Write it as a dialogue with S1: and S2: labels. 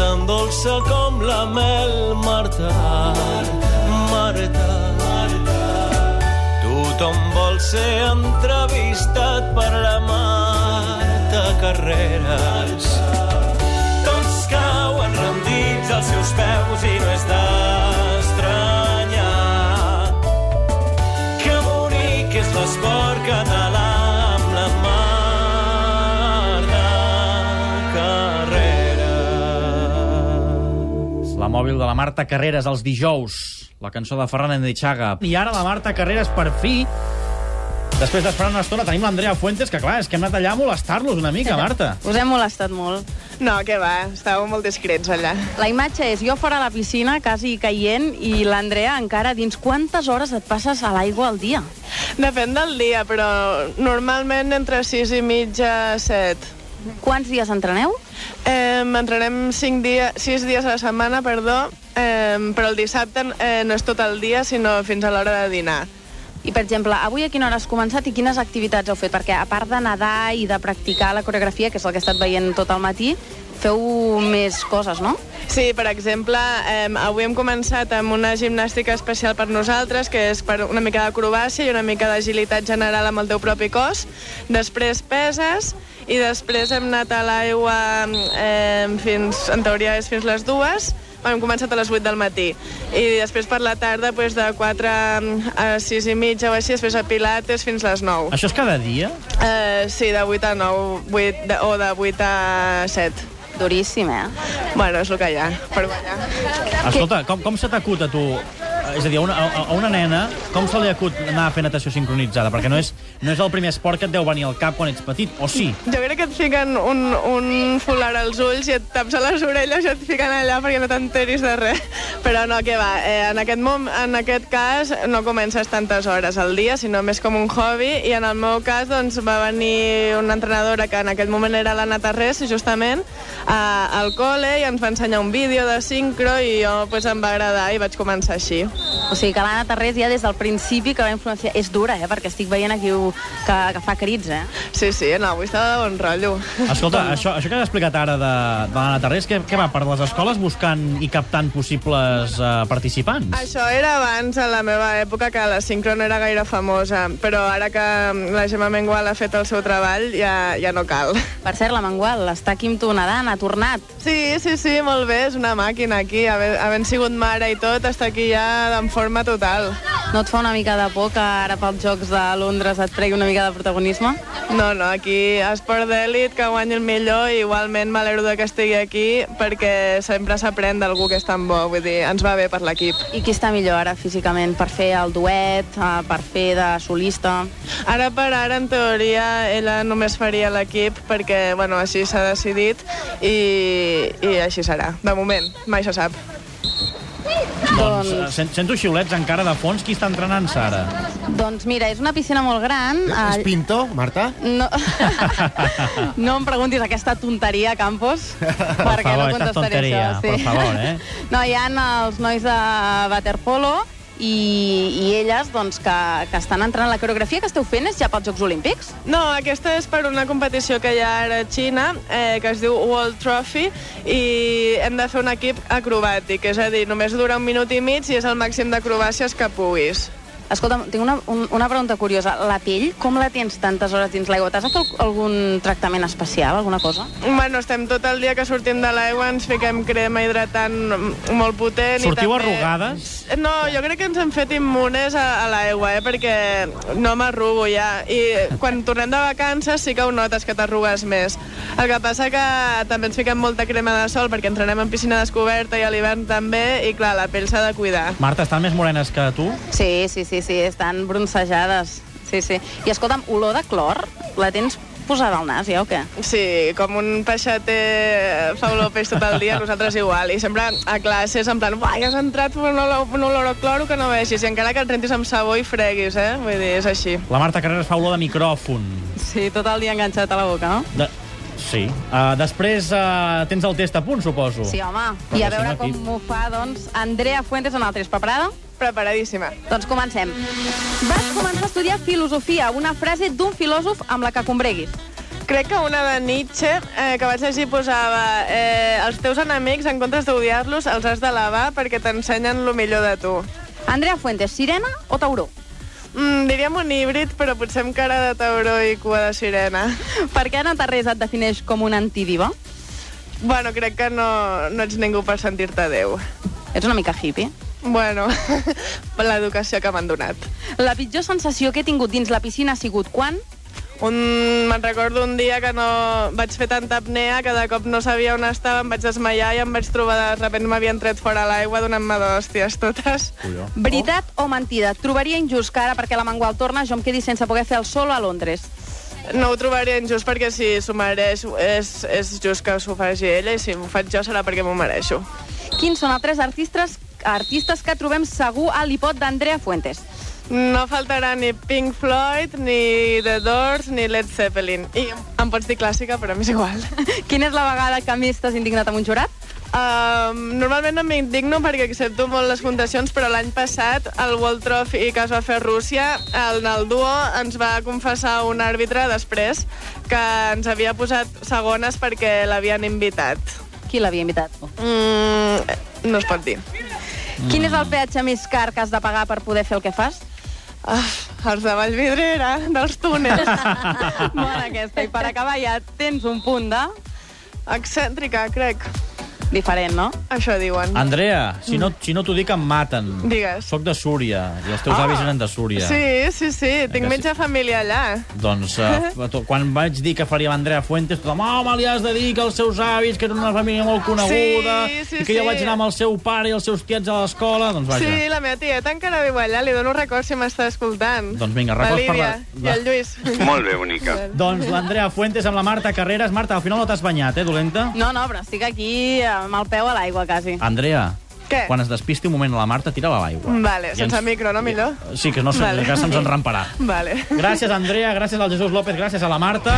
S1: dolça com la mel, Marta, Marta, Marta. Tothom vol ser entrevistat per la Marta Carreras. Tots cauen rendits als seus peus i no és d'estranyar que bonic és l'esport català amb la Marta Carreras.
S2: La mòbil de la Marta Carreras els dijous, la cançó de Ferran Endichaga. I ara la Marta Carreras, per fi, després d'esperar una estona, tenim l'Andrea Fuentes, que clar, és que hem anat allà a molestar-los una mica, Marta.
S3: Us hem molestat molt.
S4: No, que va, estàveu molt discrets allà.
S3: La imatge és jo fora a la piscina, quasi caient, i l'Andrea encara dins. Quantes hores et passes a l'aigua al dia?
S4: Depèn del dia, però normalment entre 6 i mitja, 7.
S3: Quants dies entreneu?
S4: Eh, entrenem 5 dia, 6 dies a la setmana, perdó, eh, però el dissabte eh, no és tot el dia, sinó fins a l'hora de dinar.
S3: I, per exemple, avui a quina hora has començat i quines activitats heu fet? Perquè, a part de nedar i de practicar la coreografia, que és el que he estat veient tot el matí, feu més coses, no?
S4: Sí, per exemple, eh, avui hem començat amb una gimnàstica especial per nosaltres, que és per una mica d'acrobàcia i una mica d'agilitat general amb el teu propi cos. Després peses i després hem anat a l'aigua eh, fins, en teoria és fins les dues, hem començat a les 8 del matí i després per la tarda doncs, de 4 a 6 i mitja o així, després a Pilates fins les 9.
S2: Això és cada dia?
S4: Eh, sí, de 8 a 9 8, de, o de 8 a 7.
S3: Duríssim, eh?
S4: Bueno, és el que hi ha, per ballar.
S2: Escolta, com, com se t'acut a tu és a dir, a una, a a una nena, com se li acut anar a fer natació sincronitzada? Perquè no és, no és el primer esport que et deu venir al cap quan ets petit, o sí?
S4: Jo crec que et fiquen un, un folar als ulls i et taps a les orelles i et fiquen allà perquè no t'enteris de res. Però no, que va, eh, en, aquest mom, en aquest cas no comences tantes hores al dia, sinó més com un hobby, i en el meu cas doncs, va venir una entrenadora que en aquell moment era l'Anna Tarrés, justament, a, al col·le, i ens va ensenyar un vídeo de sincro, i jo pues, em va agradar i vaig començar així.
S3: O sigui que l'Anna Tarrés ja des del principi que va influenciar... És dura, eh? Perquè estic veient aquí ho- que, que fa crits, eh?
S4: Sí, sí, no, avui estava de bon rotllo.
S2: Escolta, això, això que has explicat ara de, de l'Anna Tarrés, què, què va, per les escoles buscant i captant possibles eh, participants?
S4: Això era abans, a la meva època, que la sincro no era gaire famosa, però ara que la Gemma Mengual ha fet el seu treball, ja, ja no cal.
S3: Per cert, la Mangual està aquí amb tu nedant, ha tornat.
S4: Sí, sí, sí, molt bé, és una màquina aquí, havent, havent sigut mare i tot, està aquí ja en forma total.
S3: No et fa una mica de por que ara pels Jocs de Londres et tregui una mica de protagonisme?
S4: No, no, aquí esport d'èlit, que guanyi el millor, i igualment m'alegro de que estigui aquí, perquè sempre s'aprèn d'algú que és tan bo, vull dir, ens va bé per l'equip.
S3: I qui està millor ara físicament per fer el duet, eh, per fer de solista?
S4: Ara per ara, en teoria, ella només faria l'equip perquè, bueno, així s'ha decidit i, i així serà. De moment, mai se sap.
S2: Doncs eh, sen- sento xiulets encara de fons. Qui està entrenant-se ara?
S3: Doncs mira, és una piscina molt gran.
S5: És
S3: eh,
S5: Pinto, Marta?
S3: No, no em preguntis aquesta tonteria, Campos, perquè
S2: favor,
S3: no
S2: esta
S3: contestaré
S2: tonteria,
S3: això.
S2: por favor, eh?
S3: No, hi ha els nois de waterpolo i, i elles doncs, que, que estan entrant. La coreografia que esteu fent és ja pels Jocs Olímpics?
S4: No, aquesta és per una competició que hi ha ara a Xina, eh, que es diu World Trophy, i hem de fer un equip acrobàtic, és a dir, només dura un minut i mig i és el màxim d'acrobàcies que puguis.
S3: Escolta, tinc una, un, una pregunta curiosa. La pell, com la tens tantes hores dins l'aigua? T'has de fer al- algun tractament especial, alguna cosa?
S4: Bueno, estem tot el dia que sortim de l'aigua, ens fiquem crema hidratant molt potent.
S2: Sortiu
S4: i també...
S2: arrugades?
S4: No, jo crec que ens hem fet immunes a, a l'aigua, eh, perquè no m'arrugo ja. I quan tornem de vacances sí que ho notes, que t'arrugues més. El que passa que també ens fiquem molta crema de sol perquè entrenem en piscina descoberta i a l'hivern també, i clar, la pell s'ha de cuidar.
S2: Marta, estan més morenes que tu?
S3: Sí, sí, sí, sí, estan bronzejades. Sí, sí. I escolta'm, olor de clor, la tens posada al nas, ja o què?
S4: Sí, com un peixater fa olor a peix tot el dia, nosaltres igual. I sempre a classes en plan, uai, has entrat per un olor, un olor a cloro que no vegis, i encara que et rentis amb sabó i freguis, eh? Vull dir, és així.
S2: La Marta Carreras fa olor de micròfon.
S3: Sí, tot el dia enganxat a la boca, no?
S2: De... Sí. Uh, després uh, tens el test a punt, suposo.
S3: Sí, home.
S2: Perquè
S3: I a
S2: si
S3: veure
S2: no,
S3: com
S2: aquí-
S3: m'ho fa, doncs, Andrea Fuentes en el 3. Preparada?
S4: Preparadíssima.
S3: Doncs comencem. Vas començar a estudiar filosofia, una frase d'un filòsof amb la que combreguis.
S4: Crec que una de Nietzsche, eh, que vaig llegir, posava eh, els teus enemics, en comptes d'odiar-los, els has d'elevar perquè t'ensenyen el millor de tu.
S3: Andrea Fuentes, sirena o tauró?
S4: Mm, diríem un híbrid, però potser amb cara de tauró i cua de sirena.
S3: Per què Anna Tarrés et defineix com una antidiva?
S4: Bueno, crec que no, no ets ningú per sentir-te Déu.
S3: Ets una mica hippie.
S4: Bueno, per l'educació que m'han donat.
S3: La pitjor sensació que he tingut dins la piscina ha sigut quan?
S4: Un, me'n recordo un dia que no vaig fer tanta apnea que de cop no sabia on estava, em vaig desmaiar i em vaig trobar de repent m'havien tret fora l'aigua donant-me d'hòsties totes.
S2: Colló.
S3: Veritat o mentida? Et trobaria injust que ara perquè la Mangual torna jo em quedi sense poder fer el solo a Londres.
S4: No ho trobaré injust perquè si s'ho mereix és, és just que s'ho faci ella i si m'ho faig jo serà perquè m'ho mereixo.
S3: Quins són els tres artistes artistes que trobem segur al hipot d'Andrea Fuentes?
S4: No faltarà ni Pink Floyd, ni The Doors, ni Led Zeppelin. I em pots dir clàssica, però m'és igual.
S3: Quina és la vegada que més t'has indignat amb un jurat?
S4: Um, normalment no m'indigno perquè accepto molt les fundacions, però l'any passat el World Trophy que es va fer a Rússia, en el duo ens va confessar un àrbitre després que ens havia posat segones perquè l'havien invitat.
S3: Qui l'havia invitat?
S4: Mm, no es pot dir.
S3: Mm. Quin és el peatge més car que has de pagar per poder fer el que fas?
S4: Ah, els de Vallvidrera, dels túnels.
S3: Bona aquesta. I per acabar ja tens un punt de...
S4: Excèntrica, crec.
S3: Diferent, no?
S4: Això diuen.
S2: Andrea, si no, si no t'ho dic em maten.
S4: Mm. Digues.
S2: Soc de Súria, i els teus
S4: Ah.
S2: avis eren de Súria.
S4: Sí, sí, sí. Tinc
S2: que sí.
S4: mitja família allà.
S2: Doncs uh, quan vaig dir que faria l'Andrea Fuentes, tothom, home, li has de dir que els seus avis, que era una família molt coneguda,
S4: Sí, sí,
S2: i que jo
S4: sí.
S2: vaig anar amb el seu pare i els seus tiets a l'escola, doncs vaja.
S4: Sí, la meva tieta encara viu allà. Li dono records si m'està escoltant.
S2: Doncs vinga, records
S4: la
S2: per la- la-
S4: Lídia I el Lluís.
S5: Molt bé, bonica.
S2: Doncs l'Andrea Fuentes amb la Marta Carreras. Marta, al final no t'has banyat, eh, dolenta?
S3: No, no, però estic aquí amb el peu a l'aigua, quasi.
S2: Andrea,
S4: Què?
S2: quan es despisti un moment a la Marta, tira-la a l'aigua.
S4: Eh. Vale,
S2: I
S4: sense micro, no, millor?
S2: Sí, que no se'ns
S4: Vale.
S2: vale. se'ns enramparà.
S4: Vale.
S2: Gràcies, Andrea, gràcies al Jesús López, gràcies a la Marta.